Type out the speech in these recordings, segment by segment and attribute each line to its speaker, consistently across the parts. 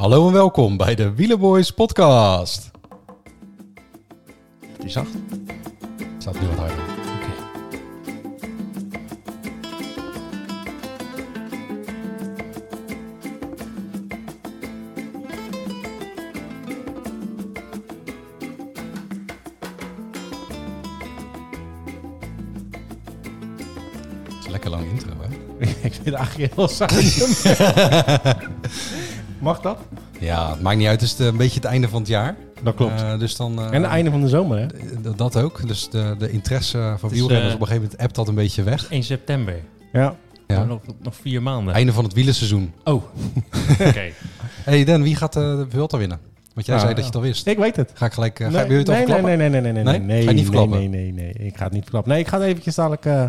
Speaker 1: Hallo en welkom bij de Wielerboys podcast.
Speaker 2: Die zacht.
Speaker 1: Het staat nu wat harder. Het is een lekker lang intro, hè?
Speaker 2: ik vind het eigenlijk heel saai. Mag dat?
Speaker 1: Ja, het maakt niet uit. Het is de- een beetje het einde van het jaar.
Speaker 2: Dat klopt.
Speaker 1: Eh, dus dan, eh,
Speaker 2: en het einde van de zomer, hè?
Speaker 1: d- dat ook. Dus de, de interesse van
Speaker 3: is,
Speaker 1: wielrenners
Speaker 3: eh,
Speaker 1: op een gegeven moment appt dat een beetje weg.
Speaker 3: 1 september.
Speaker 2: Ja.
Speaker 1: Ja.
Speaker 3: Nog, nog vier maanden.
Speaker 1: Einde van het wielerseizoen.
Speaker 3: Oh, oké.
Speaker 1: Hey Dan, wie gaat eh, de Vuelta winnen? Want jij
Speaker 2: Ah,
Speaker 1: zei dat
Speaker 2: ja.
Speaker 1: je het al wist.
Speaker 2: Ik weet het.
Speaker 1: Ga ik gelijk... eh, ga
Speaker 2: nee,
Speaker 1: ik, wil je het
Speaker 2: nee,
Speaker 1: overklappen?
Speaker 2: nee, nee, nee, nee, nee,
Speaker 1: Nee?
Speaker 2: nee, nee,
Speaker 1: Ga je niet
Speaker 2: nee,
Speaker 1: verklappen?
Speaker 2: nee, nee, nee. Ik ga het niet verklappen. Nee, ik ga er eventjes dadelijk, eh,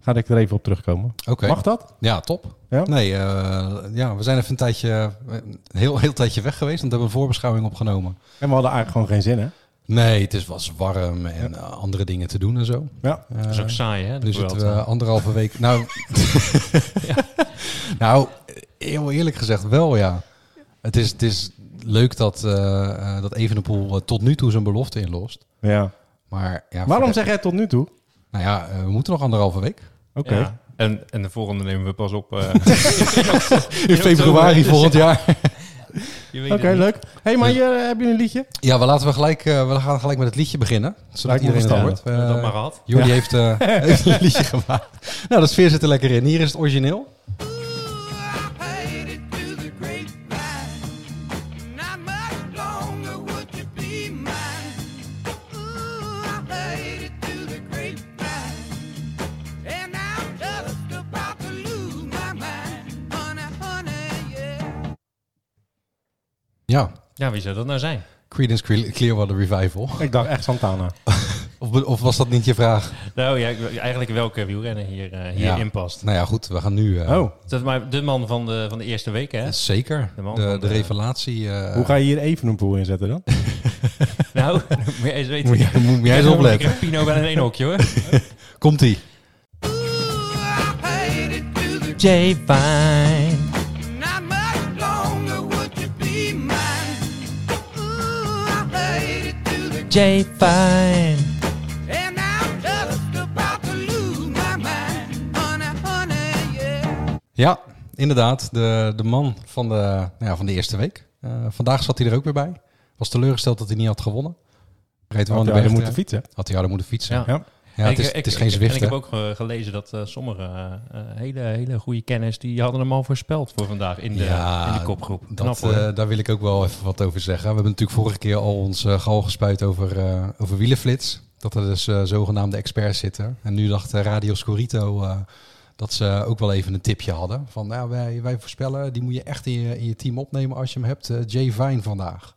Speaker 2: ga ik er even op terugkomen.
Speaker 1: Oké,
Speaker 2: Mag dat?
Speaker 1: ja, top.
Speaker 2: Ja?
Speaker 1: Nee, eh, ja, we zijn even een tijdje, eh, een heel, heel tijdje weg geweest, want we hebben een voorbeschouwing opgenomen.
Speaker 2: En we hadden eigenlijk gewoon geen zin, hè?
Speaker 1: Nee, het is, was warm en eh, andere dingen te doen en zo.
Speaker 2: Ja.
Speaker 1: Eh,
Speaker 3: Dat is ook saai, hè? de
Speaker 1: nu zitten we
Speaker 3: Vuelta.
Speaker 1: eh, anderhalve week... Nou, nou, heel eerlijk gezegd wel, ja. Het is, het is leuk dat, eh eh dat Evenepoel eh, tot nu toe zijn belofte inlost.
Speaker 2: ja.
Speaker 1: Ah, Maar ja, voor
Speaker 2: Waarom
Speaker 1: de-
Speaker 2: zeg jij het tot nu toe? Oké.
Speaker 1: Nou ja, eh, we moeten nog anderhalve week.
Speaker 3: Ja. En, en de volgende nemen we pas op. eh,
Speaker 1: In februari volgend jaar.
Speaker 3: je weet
Speaker 2: Oké,
Speaker 3: het niet.
Speaker 2: leuk. Hé, hey, maar hier eh, heb je een liedje?
Speaker 1: Ja, maar laten we gelijk, eh, we gaan gelijk met het liedje beginnen. Zodat
Speaker 2: Lijkt me
Speaker 1: iedereen het hoort.
Speaker 2: verstandig.
Speaker 3: Hebben we
Speaker 1: Eh,
Speaker 3: dat maar gehad.
Speaker 1: Jordi heeft, eh, heeft een liedje gemaakt. Nou, de sfeer zit er lekker in. Hier is het origineel. Ja,
Speaker 3: Ja, wie zou dat nou zijn?
Speaker 1: Creedence Cle- Clearwater Revival.
Speaker 2: Ik dacht echt Santana.
Speaker 1: Of, be- of was dat niet je vraag?
Speaker 3: Nou ja, ik wil- eigenlijk welke wielrenner hier, eh, hierin past.
Speaker 1: Nou ja, goed, we gaan nu... eh,
Speaker 2: oh,
Speaker 3: Dat is maar de man van de, van de eerste week, hè?
Speaker 1: Zeker.
Speaker 3: De man
Speaker 1: De,
Speaker 3: van
Speaker 1: de
Speaker 3: de-
Speaker 1: revelatie... eh,
Speaker 2: hoe ga je hier even een pool inzetten dan?
Speaker 3: Nou, moet jij eens weten.
Speaker 1: Moet jij, moet jij eens
Speaker 3: Ik heb
Speaker 1: opletten.
Speaker 3: een Pino bij een één hokje, hoor.
Speaker 1: Komt-ie.
Speaker 3: Jay Fine.
Speaker 4: Not much longer would you be mine. Ooh, I hate it to the
Speaker 3: Jay Fine.
Speaker 4: And I'm just about to lose my mind. Honey, honey, yeah.
Speaker 1: Ja, inderdaad. De, de man van de, nou ja, van de eerste week. Eh, vandaag zat hij er ook weer bij. Was teleurgesteld dat hij niet had gewonnen. Reed wel aan
Speaker 2: Want
Speaker 1: de
Speaker 2: we
Speaker 1: berg.
Speaker 2: moeten fietsen.
Speaker 1: Had hij harder moeten fietsen. Ja,
Speaker 3: Ja.
Speaker 2: Ja.
Speaker 1: het,
Speaker 3: Ik- eh,
Speaker 1: is,
Speaker 3: ik-
Speaker 1: het is
Speaker 3: ik-
Speaker 1: geen Zwift,
Speaker 3: En ik
Speaker 1: hè?
Speaker 3: heb ook eh, gelezen dat eh, sommige eh, eh, hele, hele goede kennis... die hadden hem al voorspeld voor vandaag in de,
Speaker 1: Ja,
Speaker 3: in de kopgroep. Knap,
Speaker 1: Dat,
Speaker 3: hoor.
Speaker 1: eh, daar wil ik ook wel even wat over zeggen. We hebben natuurlijk vorige keer al ons eh, gal gespuit over, eh over wielenflits. Dat er dus eh, zogenaamde experts zitten. En nu dacht eh, Radio Scorito eh, dat ze ook wel even een tipje hadden. Van nou, wij, wij voorspellen, die moet je echt in je, in je team opnemen als je hem hebt. eh, Jay Vine vandaag.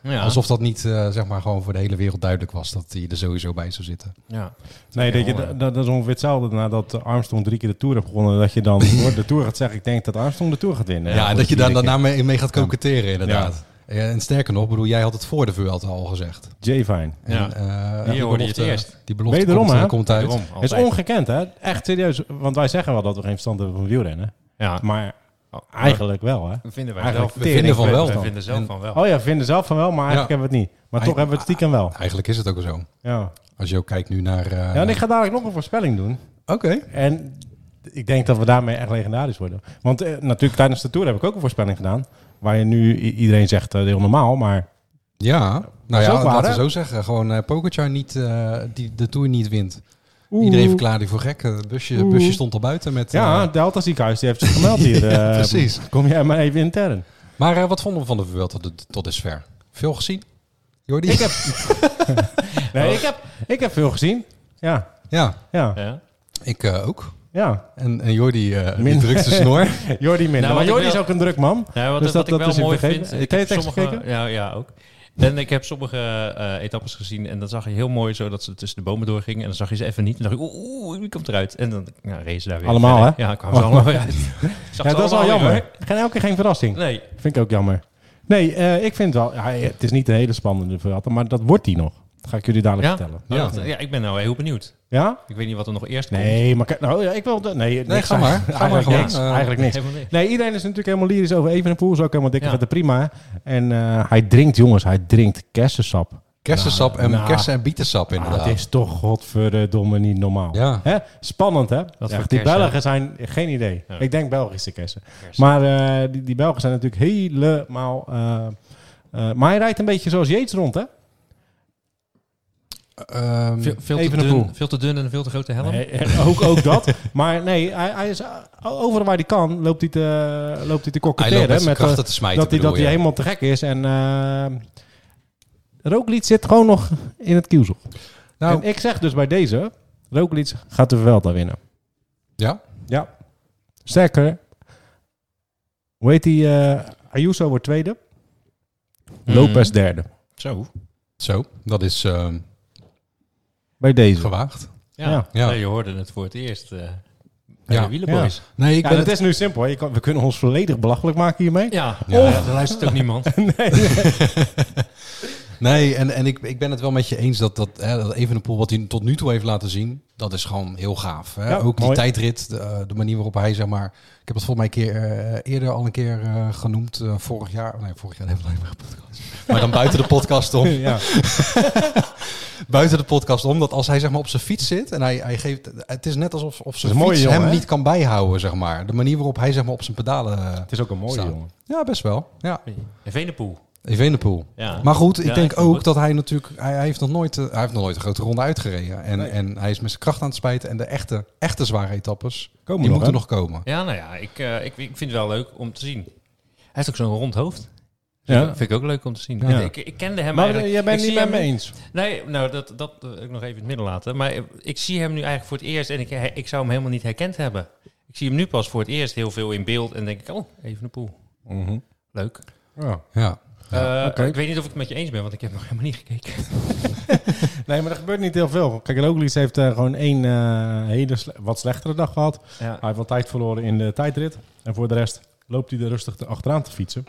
Speaker 3: ja.
Speaker 1: Alsof dat niet eh, zeg maar gewoon voor de hele wereld duidelijk was dat hij er sowieso bij zou zitten.
Speaker 3: Ja.
Speaker 2: Nee, dat, je,
Speaker 3: Ja,
Speaker 2: dat, dat is ongeveer hetzelfde nadat Armstrong drie keer de Tour heeft gewonnen. Dat je dan voor de Tour gaat zeggen, ik denk dat Armstrong de Tour gaat winnen.
Speaker 1: Ja, en dat je
Speaker 2: dan
Speaker 1: daar daarna mee, mee gaat koketteren inderdaad. Ja, En sterker nog, bedoel, jij had het voor de Vuelta al gezegd.
Speaker 2: Jay Vine.
Speaker 1: En,
Speaker 3: Ja.
Speaker 1: eh, die
Speaker 3: hoorde je
Speaker 1: belofte-
Speaker 3: het eerst.
Speaker 1: Die belofte
Speaker 2: Wederom,
Speaker 1: komt, eh,
Speaker 2: hè?
Speaker 1: komt uit.
Speaker 3: Daarom,
Speaker 2: Het is
Speaker 3: altijd.
Speaker 2: ongekend, hè? Echt serieus. Want wij zeggen wel dat we geen verstand hebben van wielrennen.
Speaker 3: Ja,
Speaker 2: Maar eigenlijk wel, hè?
Speaker 3: dat vinden wij
Speaker 2: Eigenlijk
Speaker 3: zelf.
Speaker 1: We vinden van wel.
Speaker 3: We
Speaker 1: dan.
Speaker 3: vinden zelf
Speaker 1: En
Speaker 3: van wel.
Speaker 2: Oh ja, we vinden zelf van wel, maar eigenlijk
Speaker 1: Ja.
Speaker 2: hebben we het niet. Maar
Speaker 1: Hij-
Speaker 2: toch hebben we het stiekem wel.
Speaker 1: Eigenlijk is het ook zo.
Speaker 2: Ja.
Speaker 1: Als je ook kijkt nu naar... eh,
Speaker 2: ja, en ik ga dadelijk nog een voorspelling doen.
Speaker 1: Oké.
Speaker 2: En ik denk dat we daarmee echt legendarisch worden. Want eh, natuurlijk, tijdens de Tour heb ik ook een voorspelling gedaan. Waar je nu i- iedereen zegt, eh, heel normaal, maar...
Speaker 1: Ja, nou
Speaker 2: is
Speaker 1: ja,
Speaker 2: ook waar,
Speaker 1: laten we
Speaker 2: hè?
Speaker 1: zo zeggen. Gewoon eh Pogacar niet, eh, die de Tour niet wint.
Speaker 2: Oeh.
Speaker 1: Iedereen verklaarde die voor gek. Het busje,
Speaker 2: Oeh.
Speaker 1: busje stond al buiten met... eh,
Speaker 2: Ja, Delta ziekenhuis, die heeft zich gemeld hier.
Speaker 1: Ja,
Speaker 2: eh,
Speaker 1: precies.
Speaker 2: Kom jij maar even intern.
Speaker 1: maar eh, wat vonden we van de Vuelta tot, tot dusver? Veel gezien? Jordi?
Speaker 2: Ik heb... nee,
Speaker 3: Oh.
Speaker 2: ik heb, ik heb veel gezien. Ja,
Speaker 1: Ja,
Speaker 2: ja,
Speaker 3: Ja.
Speaker 1: ik eh, ook.
Speaker 2: ja.
Speaker 1: En, en Jordi eh die
Speaker 2: Min-
Speaker 1: drukt de snor.
Speaker 2: Jordi minder.
Speaker 3: Nou, wat
Speaker 2: maar
Speaker 3: ik
Speaker 2: Jordi
Speaker 3: wel-
Speaker 2: is ook een druk man.
Speaker 3: Ja, wat, wat
Speaker 2: Dus dat-
Speaker 3: ik
Speaker 2: dat
Speaker 3: wel
Speaker 2: is hem
Speaker 3: mooi
Speaker 2: vergeten.
Speaker 3: vind...
Speaker 2: Heb jij het echt gekeken?
Speaker 3: Ja, ja, ook. En ik heb sommige eh, etappes gezien en dan zag je heel mooi zo dat ze tussen de bomen doorgingen. En dan zag je ze even niet. En dan dacht ik, oeh, oeh, wie komt eruit? En dan ja, race ze daar weer.
Speaker 2: Allemaal,
Speaker 3: verder.
Speaker 2: hè? Oh.
Speaker 3: Ja, kwamen ze allemaal weer uit. Ik zag
Speaker 2: Ja,
Speaker 3: ze
Speaker 2: dat is wel
Speaker 3: allemaal weer,
Speaker 2: jammer. Geen, elke keer geen verrassing.
Speaker 3: hoor. Nee,
Speaker 2: Vind ik ook jammer. Nee, eh, ik vind wel... Ja, het is niet een hele spannende verhaal, maar dat wordt die nog. Dat ga ik jullie dadelijk
Speaker 3: ja?
Speaker 2: vertellen.
Speaker 3: Ja. ja, ik ben nou heel benieuwd.
Speaker 2: Ja?
Speaker 3: Ik weet niet wat er nog eerst komt.
Speaker 2: Nee, maar... kijk- Nou ja, ik wil... de- Nee,
Speaker 1: Nee,
Speaker 2: niks
Speaker 1: ga maar.
Speaker 2: eigenlijk.
Speaker 1: Ga maar
Speaker 2: Eigenlijk
Speaker 1: gewoon.
Speaker 2: niks.
Speaker 1: Eh,
Speaker 2: Eigenlijk niks.
Speaker 3: Helemaal niks.
Speaker 2: Nee, iedereen is natuurlijk helemaal lyrisch over Evenepoel. Is ook helemaal dikke
Speaker 3: Ja.
Speaker 2: vette prima. En eh, hij drinkt, jongens, hij drinkt kersensap.
Speaker 1: Kersensap en
Speaker 2: Nou,
Speaker 1: kersen- en bietensap
Speaker 2: Ah,
Speaker 1: inderdaad.
Speaker 2: het is toch godverdomme niet normaal.
Speaker 1: Ja.
Speaker 2: Hè? Spannend, hè?
Speaker 3: voor
Speaker 2: Ja, die
Speaker 3: kersen?
Speaker 2: Belgen zijn geen idee.
Speaker 3: Ja.
Speaker 2: Ik denk Belgische kersen.
Speaker 3: Kersen.
Speaker 2: Maar eh, die, die Belgen zijn natuurlijk helemaal... eh, eh, maar hij rijdt een beetje zoals Jeets rond, hè?
Speaker 1: Ehm,
Speaker 3: Veel, veel, te
Speaker 2: Even een boel.
Speaker 3: dun, veel te dun en een veel te grote helm.
Speaker 2: Nee, eh, ook, ook dat. Maar nee, hij, hij is, eh, overal waar hij kan loopt hij te, loopt hij te
Speaker 1: hij
Speaker 2: koketteren.
Speaker 1: loopt met zijn
Speaker 2: eh,
Speaker 1: krachten te smijten.
Speaker 2: dat hij, dat
Speaker 1: bedoel
Speaker 2: hij
Speaker 1: je.
Speaker 2: helemaal te gek is. En eh Roglic zit gewoon nog in het kielzog.
Speaker 1: Nou,
Speaker 2: En ik zeg dus bij deze, Roglic gaat de Vuelta winnen.
Speaker 1: ja?
Speaker 2: Ja. Sterker, hoe heet die? eh, Ayuso wordt tweede.
Speaker 3: Hmm.
Speaker 2: Lopez derde.
Speaker 3: Zo.
Speaker 1: Zo, dat is ehm,
Speaker 2: Bij deze.
Speaker 1: gewaagd.
Speaker 3: Ja.
Speaker 2: Ja.
Speaker 1: Ja.
Speaker 3: Nee, je hoorde het voor het eerst. eh bij
Speaker 1: Ja.
Speaker 3: de wielenboys.
Speaker 1: Nee, ik
Speaker 2: Ja,
Speaker 1: ben
Speaker 2: dat
Speaker 1: het...
Speaker 2: is nu simpel. hè. Je kan, we kunnen ons volledig belachelijk maken hiermee.
Speaker 3: Ja.
Speaker 1: Ja.
Speaker 3: Of- daar luistert ook niemand.
Speaker 1: Nee, en, en ik, ik ben het wel met je eens dat, dat, hè, dat Evenepoel wat hij tot nu toe heeft laten zien, dat is gewoon heel gaaf. Hè?
Speaker 2: Ja,
Speaker 1: Ook die
Speaker 2: mooi.
Speaker 1: tijdrit, de, eh, de manier waarop hij zeg maar, ik heb het volgens mij een keer, eh, eerder al een keer eh, genoemd, eh, vorig jaar, nee vorig jaar hebben we alleen maar een podcast. Maar dan buiten de podcast om,
Speaker 2: Ja.
Speaker 1: buiten de podcast om, dat als hij zeg maar op zijn fiets zit en hij, hij geeft, het is net alsof of zijn
Speaker 2: een mooie
Speaker 1: fiets
Speaker 2: jongen,
Speaker 1: hem
Speaker 2: hè?
Speaker 1: niet kan bijhouden zeg maar. De manier waarop hij zeg maar op zijn pedalen, eh,
Speaker 2: Het is ook een mooie
Speaker 1: Staan.
Speaker 2: jongen.
Speaker 1: ja best wel, ja.
Speaker 3: En Venepoel.
Speaker 1: Evenepoel.
Speaker 3: Ja.
Speaker 1: Maar goed, ik
Speaker 3: Ja,
Speaker 1: denk
Speaker 3: ik vind
Speaker 1: ook
Speaker 3: het.
Speaker 1: dat hij natuurlijk... Hij, hij heeft nog nooit, eh, hij heeft nog nooit een grote ronde uitgereden. En,
Speaker 2: Nee.
Speaker 1: en hij is met zijn kracht aan het spijten. En de echte, echte zware etappes,
Speaker 2: Komen
Speaker 1: die
Speaker 2: nog,
Speaker 1: moeten
Speaker 2: hè?
Speaker 1: nog komen.
Speaker 3: Ja, nou ja, ik, eh, ik, ik vind het wel leuk om te zien. Hij heeft ook zo'n rond hoofd.
Speaker 2: Ja.
Speaker 3: Dat vind ik ook leuk om te zien.
Speaker 2: Ja.
Speaker 3: Ik, ik kende hem
Speaker 2: Maar eh,
Speaker 3: eigenlijk...
Speaker 2: jij bent
Speaker 3: ik
Speaker 2: het niet
Speaker 3: zie
Speaker 2: met me
Speaker 3: hem-
Speaker 2: eens.
Speaker 3: Nee, nou, dat, dat eh, wil ik nog even in het midden laten. Maar eh, ik zie hem nu eigenlijk voor het eerst en ik, hij- ik zou hem helemaal niet herkend hebben. Ik zie hem nu pas voor het eerst heel veel in beeld en denk ik, oh, even een poel.
Speaker 1: Mhm.
Speaker 3: Leuk.
Speaker 2: Ja.
Speaker 1: Ja.
Speaker 3: Eh,
Speaker 2: oké.
Speaker 3: Ik weet niet of ik het met je eens ben, want ik heb nog helemaal niet gekeken.
Speaker 2: Nee, maar er gebeurt niet heel veel. Kijk, Roglic heeft eh, gewoon één eh, hele sle- wat slechtere dag gehad.
Speaker 3: Ja.
Speaker 2: Hij heeft wat tijd verloren in de tijdrit. En voor de rest loopt hij er rustig te- achteraan te fietsen.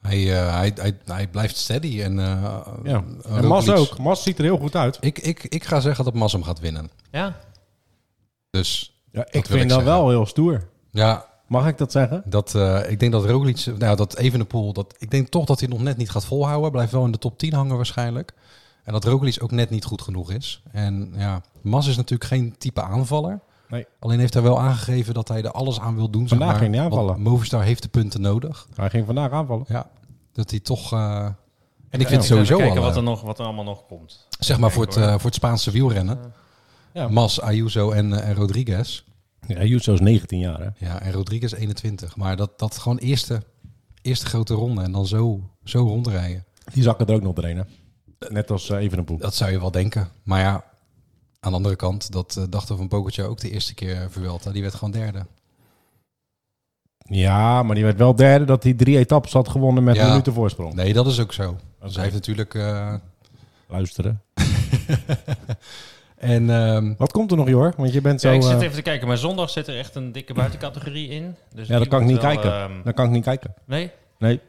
Speaker 1: Hij, eh, hij, hij, hij blijft steady. En, eh,
Speaker 2: Ja.
Speaker 1: eh,
Speaker 2: En Mas
Speaker 1: Roglic-
Speaker 2: ook. Mas ziet er heel goed uit.
Speaker 1: Ik, ik, ik ga zeggen dat Mas hem gaat winnen.
Speaker 3: Ja,
Speaker 1: Dus
Speaker 2: Ja, ik
Speaker 1: wil
Speaker 2: vind
Speaker 1: ik
Speaker 2: dat
Speaker 1: zeggen.
Speaker 2: wel heel stoer.
Speaker 1: ja,
Speaker 2: Mag ik dat zeggen?
Speaker 1: dat, eh, ik denk dat Roglic... Nou, dat Evenepoel... Dat, ik denk toch dat hij nog net niet gaat volhouden. Blijft wel in de top 10 hangen waarschijnlijk. En dat Roglic ook net niet goed genoeg is. En ja, Mas is natuurlijk geen type aanvaller.
Speaker 2: Nee.
Speaker 1: Alleen heeft hij wel aangegeven dat hij er alles aan wil doen.
Speaker 2: Vandaag
Speaker 1: zeg maar,
Speaker 2: ging hij aanvallen.
Speaker 1: Want Movistar heeft de punten nodig.
Speaker 2: Hij ging vandaag aanvallen.
Speaker 1: Ja, dat hij toch... eh, en ik
Speaker 3: Ja,
Speaker 1: vind
Speaker 3: ik
Speaker 1: het
Speaker 3: wil
Speaker 1: sowieso
Speaker 3: Nou, even
Speaker 1: wel,
Speaker 3: kijken wat
Speaker 1: eh,
Speaker 3: er, nog, wat er allemaal nog komt.
Speaker 1: zeg maar voor het, eh, voor het Spaanse wielrennen.
Speaker 2: Ja.
Speaker 1: Mas, Ayuso en, eh, en Rodriguez.
Speaker 2: Ja, Jusso is 19 jaar, hè?
Speaker 1: Ja, en Rodriguez 21. Maar dat, dat gewoon eerste, eerste grote ronde en dan zo, zo rondrijden.
Speaker 2: Die zakken er ook nog doorheen, hè? Net als eh, even een poel.
Speaker 1: Dat zou je wel denken. Maar ja, aan de andere kant, dat eh, dachten we van Pokertje ook de eerste keer eh, Vuelta. Die werd gewoon derde.
Speaker 2: Ja, maar die werd wel derde dat hij drie etappes had gewonnen met
Speaker 1: Ja.
Speaker 2: een minuten voorsprong.
Speaker 1: Nee, dat is ook zo. Dus
Speaker 2: Oké.
Speaker 1: hij heeft natuurlijk... eh,
Speaker 2: Luisteren.
Speaker 1: en ehm,
Speaker 2: Wat komt er nog, Jor? Want je bent zo...
Speaker 3: Ja, ik zit
Speaker 2: eh,
Speaker 3: even te kijken, maar zondag zit er echt een dikke buitencategorie in. Dus
Speaker 2: Ja, dat
Speaker 3: die
Speaker 2: kan ik
Speaker 3: wordt
Speaker 2: niet
Speaker 3: wel,
Speaker 2: kijken.
Speaker 3: ehm,
Speaker 2: Dan kan ik niet kijken.
Speaker 3: nee?
Speaker 2: Nee.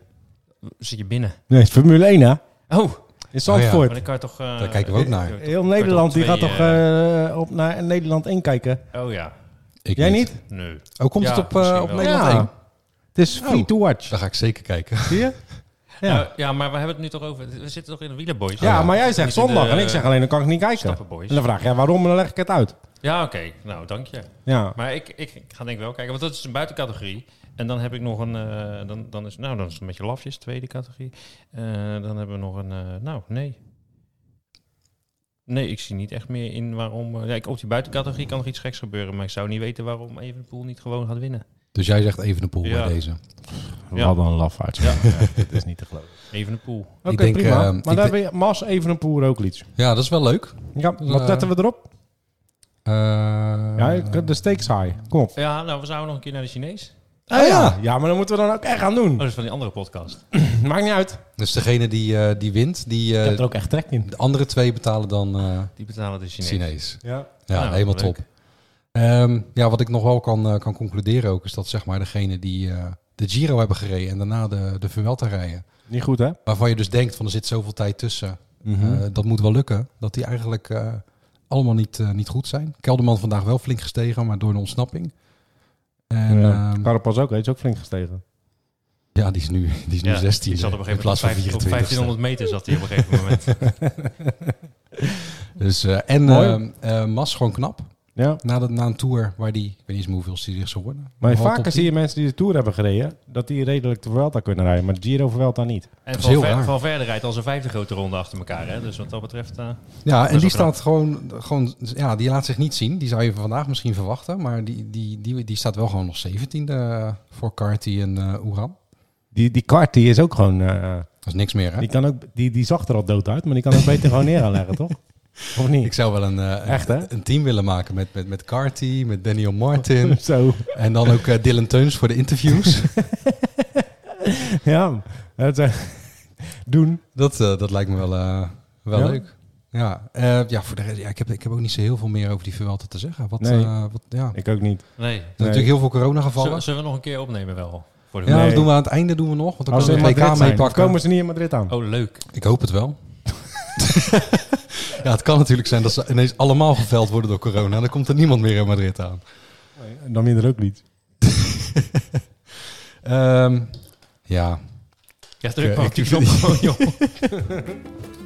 Speaker 3: Zit je binnen?
Speaker 2: Nee, het is Formule 1, hè?
Speaker 3: Oh,
Speaker 2: In Zandvoort.
Speaker 3: maar dan kan je toch... eh,
Speaker 1: Daar kijken we ook naar.
Speaker 2: Heel Nederland die gaat
Speaker 3: Wordt op
Speaker 2: toch
Speaker 3: twee,
Speaker 2: eh, op naar Nederland 1 kijken.
Speaker 3: Oh ja,
Speaker 1: ik
Speaker 2: Jij niet?
Speaker 3: nee.
Speaker 1: Oh, komt
Speaker 3: Ja,
Speaker 1: het op, eh,
Speaker 3: misschien
Speaker 1: op
Speaker 3: wel.
Speaker 1: Nederland
Speaker 2: Ja.
Speaker 1: 1?
Speaker 2: Het is free
Speaker 1: Oh.
Speaker 2: to watch.
Speaker 1: Daar ga ik zeker kijken.
Speaker 2: Zie je? Ja.
Speaker 3: Nou, ja, maar we hebben het nu toch over... We zitten toch in de wielerboys?
Speaker 2: ja, maar jij zegt
Speaker 3: Niet in
Speaker 2: zondag
Speaker 3: de,
Speaker 2: en ik zeg alleen dan kan ik niet kijken.
Speaker 3: Stappenboys.
Speaker 2: En dan vraag jij waarom en dan leg ik het uit.
Speaker 3: Ja, oké. Nou, dank je.
Speaker 2: Ja.
Speaker 3: Maar ik, ik, ik ga denk ik wel kijken, want dat is een buitencategorie. En dan heb ik nog een... eh, dan, dan is, nou, dan is het een beetje lafjes, tweede categorie. Eh, dan hebben we nog een... eh, nou, nee. Nee, ik zie niet echt meer in waarom... eh, ja, ik, op die buitencategorie kan nog iets geks gebeuren, maar ik zou niet weten waarom Evenpoel niet gewoon gaat winnen.
Speaker 1: Dus jij zegt even een pool
Speaker 3: Ja.
Speaker 1: bij deze.
Speaker 3: Ja.
Speaker 2: Wat een lafaard.
Speaker 3: Ja.
Speaker 2: dit is niet te geloven. ehm,
Speaker 3: Evenpoel.
Speaker 2: Oké,
Speaker 1: denk,
Speaker 2: prima.
Speaker 1: eh,
Speaker 2: maar
Speaker 1: ik
Speaker 2: daar ben je Mas even een poel ook iets.
Speaker 1: Ja, dat is wel leuk.
Speaker 2: Ja, wat
Speaker 1: eh,
Speaker 2: zetten we erop?
Speaker 1: Eh,
Speaker 2: Ja, ik- de stakes high. Kom op.
Speaker 3: Ja, nou, we zouden nog een keer naar de Chinees.
Speaker 1: Ah, ja.
Speaker 2: Oh, Ja, maar dan moeten we dan ook echt gaan
Speaker 3: Oh,
Speaker 2: doen.
Speaker 3: dat is van die andere podcast.
Speaker 2: Maakt niet uit.
Speaker 1: Dus degene die, eh, die wint, die, eh,
Speaker 2: Oh. Ik heb er ook echt trek in.
Speaker 1: de andere twee betalen dan eh
Speaker 3: Die betalen de Chinees.
Speaker 1: Chinees.
Speaker 2: Ja.
Speaker 1: Ja,
Speaker 3: Nou,
Speaker 1: helemaal
Speaker 3: leuk.
Speaker 1: top. Ehm, ja, wat ik nog wel kan, eh, kan concluderen ook, is dat zeg maar degene die eh, de Giro hebben gereden en daarna de, de Vuelta rijden,
Speaker 2: Niet goed, hè? Mhm.
Speaker 1: waarvan je dus denkt van er zit zoveel tijd tussen, eh, dat moet wel lukken, dat die eigenlijk eh, allemaal niet, eh, niet goed zijn. Kelderman vandaag wel flink gestegen, maar door een ontsnapping. En
Speaker 2: ja.
Speaker 1: ja,
Speaker 2: Carapaz ook, hè, is ook flink gestegen.
Speaker 1: ja die is nu, die is nu 16.
Speaker 3: Die zat op een
Speaker 1: in
Speaker 3: gegeven
Speaker 1: plaats
Speaker 3: moment
Speaker 1: van
Speaker 3: op, vijf- op
Speaker 1: 24.
Speaker 3: 1500 meter zat hij op een gegeven moment.
Speaker 1: Dus, eh, en
Speaker 2: Mooi.
Speaker 1: eh, eh, Mas gewoon knap.
Speaker 2: Ja.
Speaker 1: Na, de, na een tour waar die, ik weet niet eens meer hoeveel hij zich zou worden.
Speaker 2: Maar
Speaker 1: Half
Speaker 2: vaker
Speaker 1: top
Speaker 2: zie je mensen die de Tour hebben gereden, dat die redelijk de Vuelta kunnen rijden. Maar Giro Vuelta niet.
Speaker 1: Dat
Speaker 3: En
Speaker 1: is
Speaker 3: van,
Speaker 1: heel
Speaker 3: ver,
Speaker 1: raar.
Speaker 3: van verder rijdt als een vijfde grote ronde achter elkaar. Hè? Dus wat dat betreft... eh,
Speaker 1: Ja, en die
Speaker 3: wel knap.
Speaker 1: staat gewoon, gewoon, ja, die laat zich niet zien. Die zou je vandaag misschien verwachten, maar die, die, die, die staat wel gewoon nog 17e eh, voor Carty en eh Oeran.
Speaker 2: Die, die kart die is ook gewoon... eh,
Speaker 1: Dat is niks meer, hè?
Speaker 2: die, kan ook, die, die zag er al dood uit, maar die kan ook beter gewoon neer gaan leggen, toch? Of
Speaker 1: Ik
Speaker 2: niet?
Speaker 1: zou wel een, eh,
Speaker 2: Echt, hè?
Speaker 1: een team willen maken met, met, met Carty, met Daniel Martin
Speaker 2: Zo.
Speaker 1: en dan ook eh, Dylan Teuns voor de interviews.
Speaker 2: Ja. Dat is- doen.
Speaker 1: dat, eh, dat lijkt me wel, eh, wel
Speaker 2: Ja?
Speaker 1: leuk. Ja, eh, ja, voor de rest, ja, ik, heb, ik heb ook niet zo heel veel meer over die Vuelta te zeggen. Wat,
Speaker 2: Nee.
Speaker 1: eh, wat, ja. Er zijn
Speaker 2: Ik ook niet.
Speaker 3: nee.
Speaker 1: natuurlijk heel veel coronagevallen.
Speaker 3: Zullen, zullen we nog een keer opnemen wel? Voor de
Speaker 1: Ja,
Speaker 2: Nee.
Speaker 1: dat doen we aan het einde doen we nog, want dan
Speaker 2: Als ze in
Speaker 1: kunnen we het
Speaker 2: Madrid
Speaker 1: WK
Speaker 2: zijn,
Speaker 1: meepakken.
Speaker 2: komen ze niet in Madrid aan.
Speaker 3: Oh, leuk.
Speaker 1: Ik hoop het wel. ja, het kan natuurlijk zijn dat ze ineens allemaal geveld worden door corona. Dan komt er niemand meer in Madrid aan.
Speaker 2: Dan minder ook niet.
Speaker 1: Ehm, ja, Ja,
Speaker 3: Ja,
Speaker 1: Ehm,
Speaker 3: druk maar op
Speaker 1: ik-
Speaker 3: die knop gewoon, joh.